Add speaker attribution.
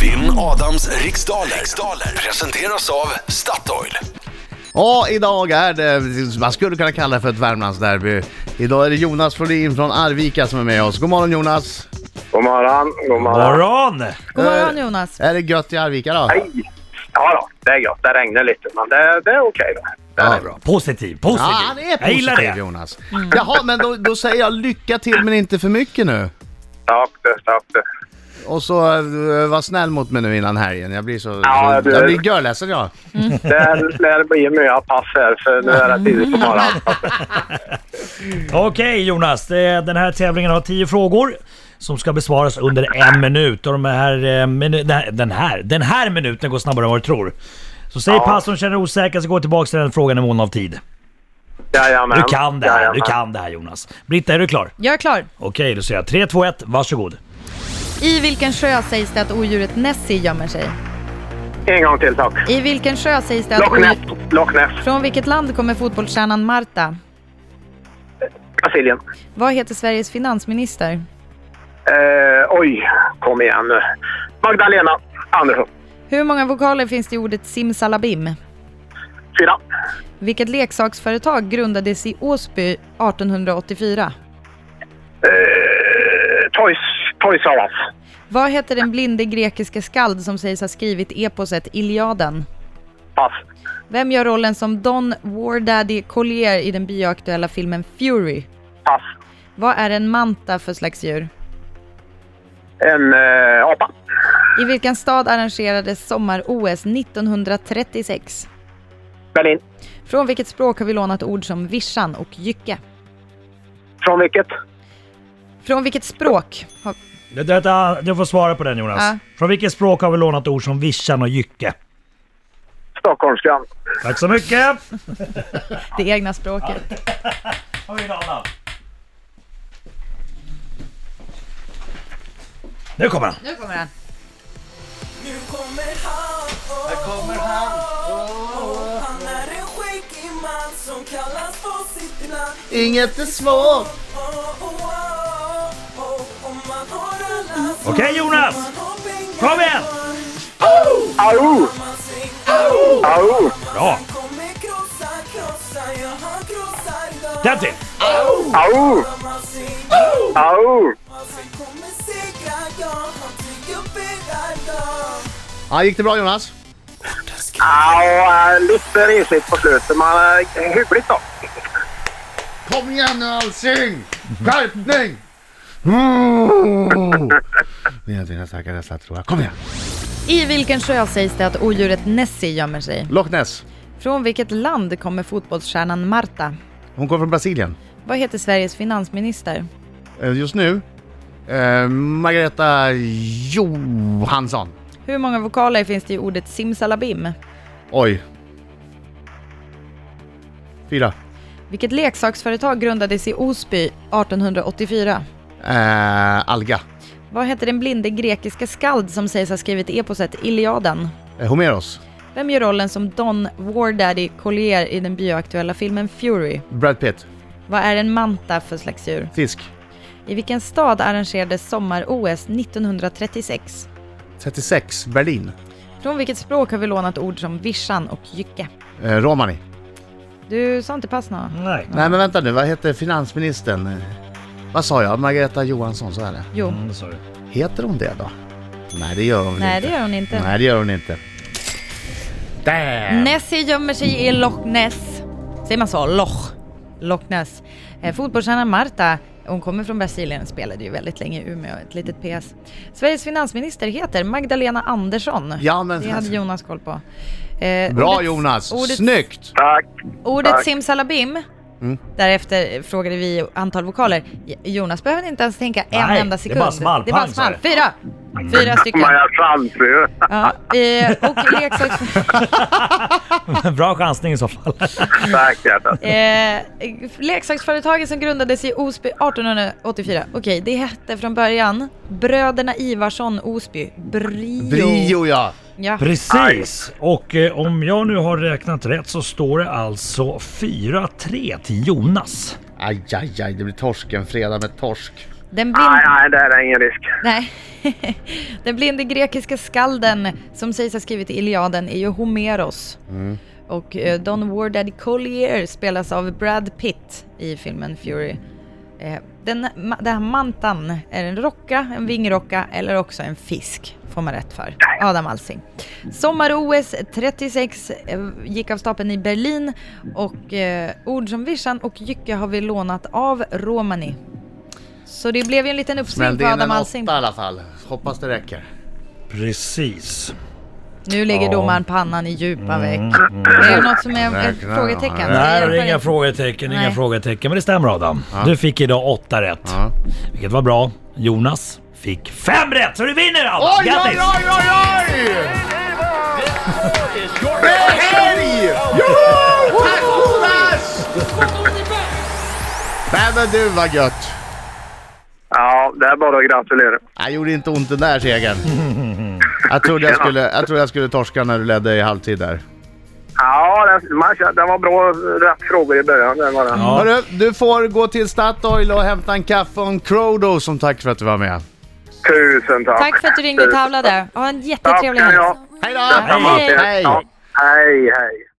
Speaker 1: Glenn Adams riksdaler. riksdaler presenteras av Statoil.
Speaker 2: Ja, idag är det, man skulle kunna kalla det för ett Värmlandsderby. Idag är det Jonas Flodin från Arvika som är med oss. God morgon Jonas!
Speaker 3: God morgon, god morgon.
Speaker 4: Morgon!
Speaker 5: God morgon Jonas.
Speaker 2: Är det gött i Arvika då?
Speaker 3: Hej! Ja, då, det är gött. Det regnar lite, men det, det är okej. då. Det är
Speaker 2: Ja,
Speaker 3: det.
Speaker 2: bra.
Speaker 4: Positiv, positiv.
Speaker 2: Ja, han är
Speaker 4: Jag gillar
Speaker 2: positiv
Speaker 4: det.
Speaker 2: Jonas. Jaha, men då, då säger jag lycka till men inte för mycket nu.
Speaker 3: Tack du, tack du.
Speaker 2: Och så eh, var snäll mot mig nu innan helgen. Jag blir så...
Speaker 3: Ja,
Speaker 2: så
Speaker 3: du-
Speaker 2: jag blir görledsen jag.
Speaker 3: Det lär bli mycket pass här, för nu är det tidigt på morgonen.
Speaker 4: Okej Jonas, det- den här tävlingen har 10 frågor som ska besvaras under en minut. Och de här, eh, minu- den här- den här, den här minuten går snabbare än vad du tror. Så säg pass om du känner dig osäker så gå tillbaka till den frågan i mån av tid.
Speaker 3: Jajamän.
Speaker 4: Du kan det här,
Speaker 3: Jajamän.
Speaker 4: du kan det här Jonas. Britta, är du klar?
Speaker 5: Jag är klar.
Speaker 4: Okej, då säger jag 3, 2, 1, varsågod.
Speaker 5: I vilken sjö sägs det att odjuret Nessie gömmer sig?
Speaker 3: En gång till, tack.
Speaker 5: I vilken sjö sägs det att...
Speaker 3: Locknäs,
Speaker 5: odjur-
Speaker 3: Locknäs,
Speaker 5: Från vilket land kommer fotbollsstjärnan Marta?
Speaker 3: Brasilien.
Speaker 5: Vad heter Sveriges finansminister?
Speaker 3: Eh, oj, kom igen nu. Magdalena Andersson.
Speaker 5: Hur många vokaler finns det i ordet simsalabim?
Speaker 3: Fyra.
Speaker 5: Vilket leksaksföretag grundades i Åsby 1884?
Speaker 3: Eh, toys, toys R Us.
Speaker 5: Vad heter den blinde grekiske skald som sägs ha skrivit eposet Iliaden?
Speaker 3: Pass.
Speaker 5: Vem gör rollen som Don War Daddy Collier i den bioaktuella filmen Fury?
Speaker 3: Pass.
Speaker 5: Vad är en manta för slags djur?
Speaker 3: En eh, apa.
Speaker 5: I vilken stad arrangerades sommar-OS 1936?
Speaker 3: Berlin.
Speaker 5: Från vilket språk har vi lånat ord som vischan och jycke?
Speaker 3: Från vilket?
Speaker 5: Från vilket språk? har-
Speaker 4: Det- Detta, du får svara på den Jonas.
Speaker 5: Ja.
Speaker 4: Från vilket språk har vi lånat ord som vischan och jycke?
Speaker 3: Stockholmskan.
Speaker 4: Tack så mycket!
Speaker 5: Det egna språket.
Speaker 4: Har vi en annan? Nu kommer han!
Speaker 5: Nu kommer den.
Speaker 6: Nu kommer han, oh, oh, Han är en skäggig man som kallas på sitt namn
Speaker 2: Inget är svårt!
Speaker 6: oh, oh, oh, oh. Om man har alla svar,
Speaker 4: Okej, Jonas.
Speaker 6: om man har pengar
Speaker 4: Kom igen.
Speaker 6: kvar,
Speaker 3: Au!
Speaker 6: man svänger.
Speaker 3: Au!
Speaker 4: Bra!
Speaker 6: Han kommer krossa, krossa, ja han krossar idag.
Speaker 4: Den till!
Speaker 3: Au!
Speaker 6: Man svänger.
Speaker 3: Au!
Speaker 6: Han kommer segra, ja han bygger upp era lag.
Speaker 2: Ja, gick det bra Jonas?
Speaker 3: Ja, och, eh, lite risigt på slutet, men eh, hyggligt då.
Speaker 2: Kom igen nu Alsing! Skärpning! Mm. Det är inte jag starka nästa tror jag. Kom igen!
Speaker 5: I vilken sjö sägs det att odjuret Nessie gömmer sig?
Speaker 2: Loch Ness.
Speaker 5: Från vilket land kommer fotbollsstjärnan Marta?
Speaker 2: Hon kommer från Brasilien.
Speaker 5: Vad heter Sveriges finansminister?
Speaker 2: Eh, Just nu, eh, Margareta Johansson.
Speaker 5: Hur många vokaler finns det i ordet simsalabim?
Speaker 2: Oj. Fyra.
Speaker 5: Vilket leksaksföretag grundades i Osby 1884?
Speaker 2: Eh, Alga.
Speaker 5: Vad heter den blinde grekiska skald som sägs ha skrivit eposet Iliaden?
Speaker 2: Eh, Homeros.
Speaker 5: Vem gör rollen som Don War Daddy Collier i den bioaktuella filmen Fury?
Speaker 2: Brad Pitt.
Speaker 5: Vad är en manta för slags djur?
Speaker 2: Fisk.
Speaker 5: I vilken stad arrangerades sommar-OS 1936?
Speaker 2: 36. Berlin.
Speaker 5: Från vilket språk har vi lånat ord som vischan och jycke?
Speaker 2: Eh, Romani.
Speaker 5: Du sa inte pass nå?
Speaker 4: Nej.
Speaker 2: Nej men vänta nu, vad heter finansministern? Eh, Vad sa jag? Margareta Johansson, så är det.
Speaker 5: Jo.
Speaker 4: Mm, sorry.
Speaker 2: Heter hon det då? Nej det gör hon väl
Speaker 5: Nej,
Speaker 2: inte.
Speaker 5: det gör hon inte.
Speaker 2: Nej det gör hon inte. Damn!
Speaker 5: Nessie gömmer sig i Loch Ness. Säger man så? Loch? Loch Ness. Eh, Fotbollsstjärnan Marta, hon kommer från Brasilien, spelade ju väldigt länge i Umeå, ett litet PS. Sveriges finansminister heter Magdalena Andersson.
Speaker 2: Ja, men-
Speaker 5: Det hade Jonas koll på. Eh,
Speaker 2: Bra
Speaker 5: ordet-
Speaker 2: Jonas!
Speaker 5: Ordet,
Speaker 2: Snyggt! Mm.
Speaker 3: Tack.
Speaker 5: ordet
Speaker 3: Tack.
Speaker 5: simsalabim. Därefter frågade vi antal vokaler. J- Jonas behövde inte ens tänka en
Speaker 4: Nej,
Speaker 5: enda
Speaker 4: det
Speaker 5: sekund.
Speaker 4: bara small,
Speaker 5: Det bara
Speaker 4: pang, sa
Speaker 5: small.
Speaker 4: det.
Speaker 5: Fyra! Fyra stycken.
Speaker 3: Men jag chansar ju.
Speaker 5: Ja, eh, och leksaks...
Speaker 4: Bra chansning i så fall.
Speaker 3: Tack hjärtat.
Speaker 5: Eh, leksaksföretaget som grundades i Osby 1884. Okej, det hette från början Bröderna Ivarsson Osby. Brio.
Speaker 2: Brio ja!
Speaker 5: Ja.
Speaker 4: Precis! Och eh, om jag nu har räknat rätt så står det alltså 4-3 till Jonas.
Speaker 2: Aj, aj, aj, det blir torsken fredag med torsk.
Speaker 5: Den blind...
Speaker 3: Nej, nej, det är ingen risk.
Speaker 5: Nej. Den blinde grekiska skalden som sägs ha skrivit Iliaden är ju Homeros. Och eh, Don Ward Daddy Collier spelas av Brad Pitt i filmen Fury. Eh, Den, ma- den här mantan är en rocka, en vingrocka eller också en fisk. Får man rätt för. Adam Alsing. Sommar-OS 36 eh, gick av stapeln i Berlin och eh, ord som vischan och jycke har vi lånat av Romani. Så det blev ju en liten uppsving
Speaker 2: Smällde
Speaker 5: på
Speaker 2: in en
Speaker 5: Adam
Speaker 2: åtta i
Speaker 5: Alsing.
Speaker 2: alla fall. Hoppas det räcker.
Speaker 4: Precis.
Speaker 5: Nu lägger
Speaker 4: Ja. Mm,
Speaker 5: domaren pannan i djupa veck. Är det något som är ett
Speaker 2: Räkna, ja,
Speaker 5: frågetecken?
Speaker 4: Nej,
Speaker 5: Är
Speaker 4: det
Speaker 5: det
Speaker 4: är inga
Speaker 5: för-
Speaker 4: frågetecken, inga
Speaker 5: Nej.
Speaker 4: frågetecken. Men det stämmer Adam. Du fick idag åtta rätt.
Speaker 2: Ja.
Speaker 4: Vilket var bra. Jonas fick fem rätt, så du vinner Adam!
Speaker 2: Oj, oj,
Speaker 4: Grattis!
Speaker 2: oj, oj, oj! Det är helg! Joho! Tack Jonas! Nej men du vad gött!
Speaker 3: Ja, det är bara att gratulera.
Speaker 2: Jag gjorde inte ont den där segern. Jag trodde jag skulle, jag trodde jag skulle torska när du ledde i halvtid där.
Speaker 3: Ja, det, man, känner- det var bra rätt frågor i början. Det var det.
Speaker 4: Ja.
Speaker 2: Hörru, du får gå till Statoil och hämta en kaffe och en Crodo som tack för att du var med.
Speaker 3: Tusen tack!
Speaker 5: Tack för att du ringde och
Speaker 3: Tusen
Speaker 5: tävlade. Ha en
Speaker 3: tack
Speaker 5: jättetrevlig
Speaker 3: ska ni
Speaker 5: helg.
Speaker 3: ha.
Speaker 2: Hej då!
Speaker 3: Detsamma
Speaker 5: Hej.
Speaker 3: till er.
Speaker 2: Hej!
Speaker 3: Ja, hej, hej!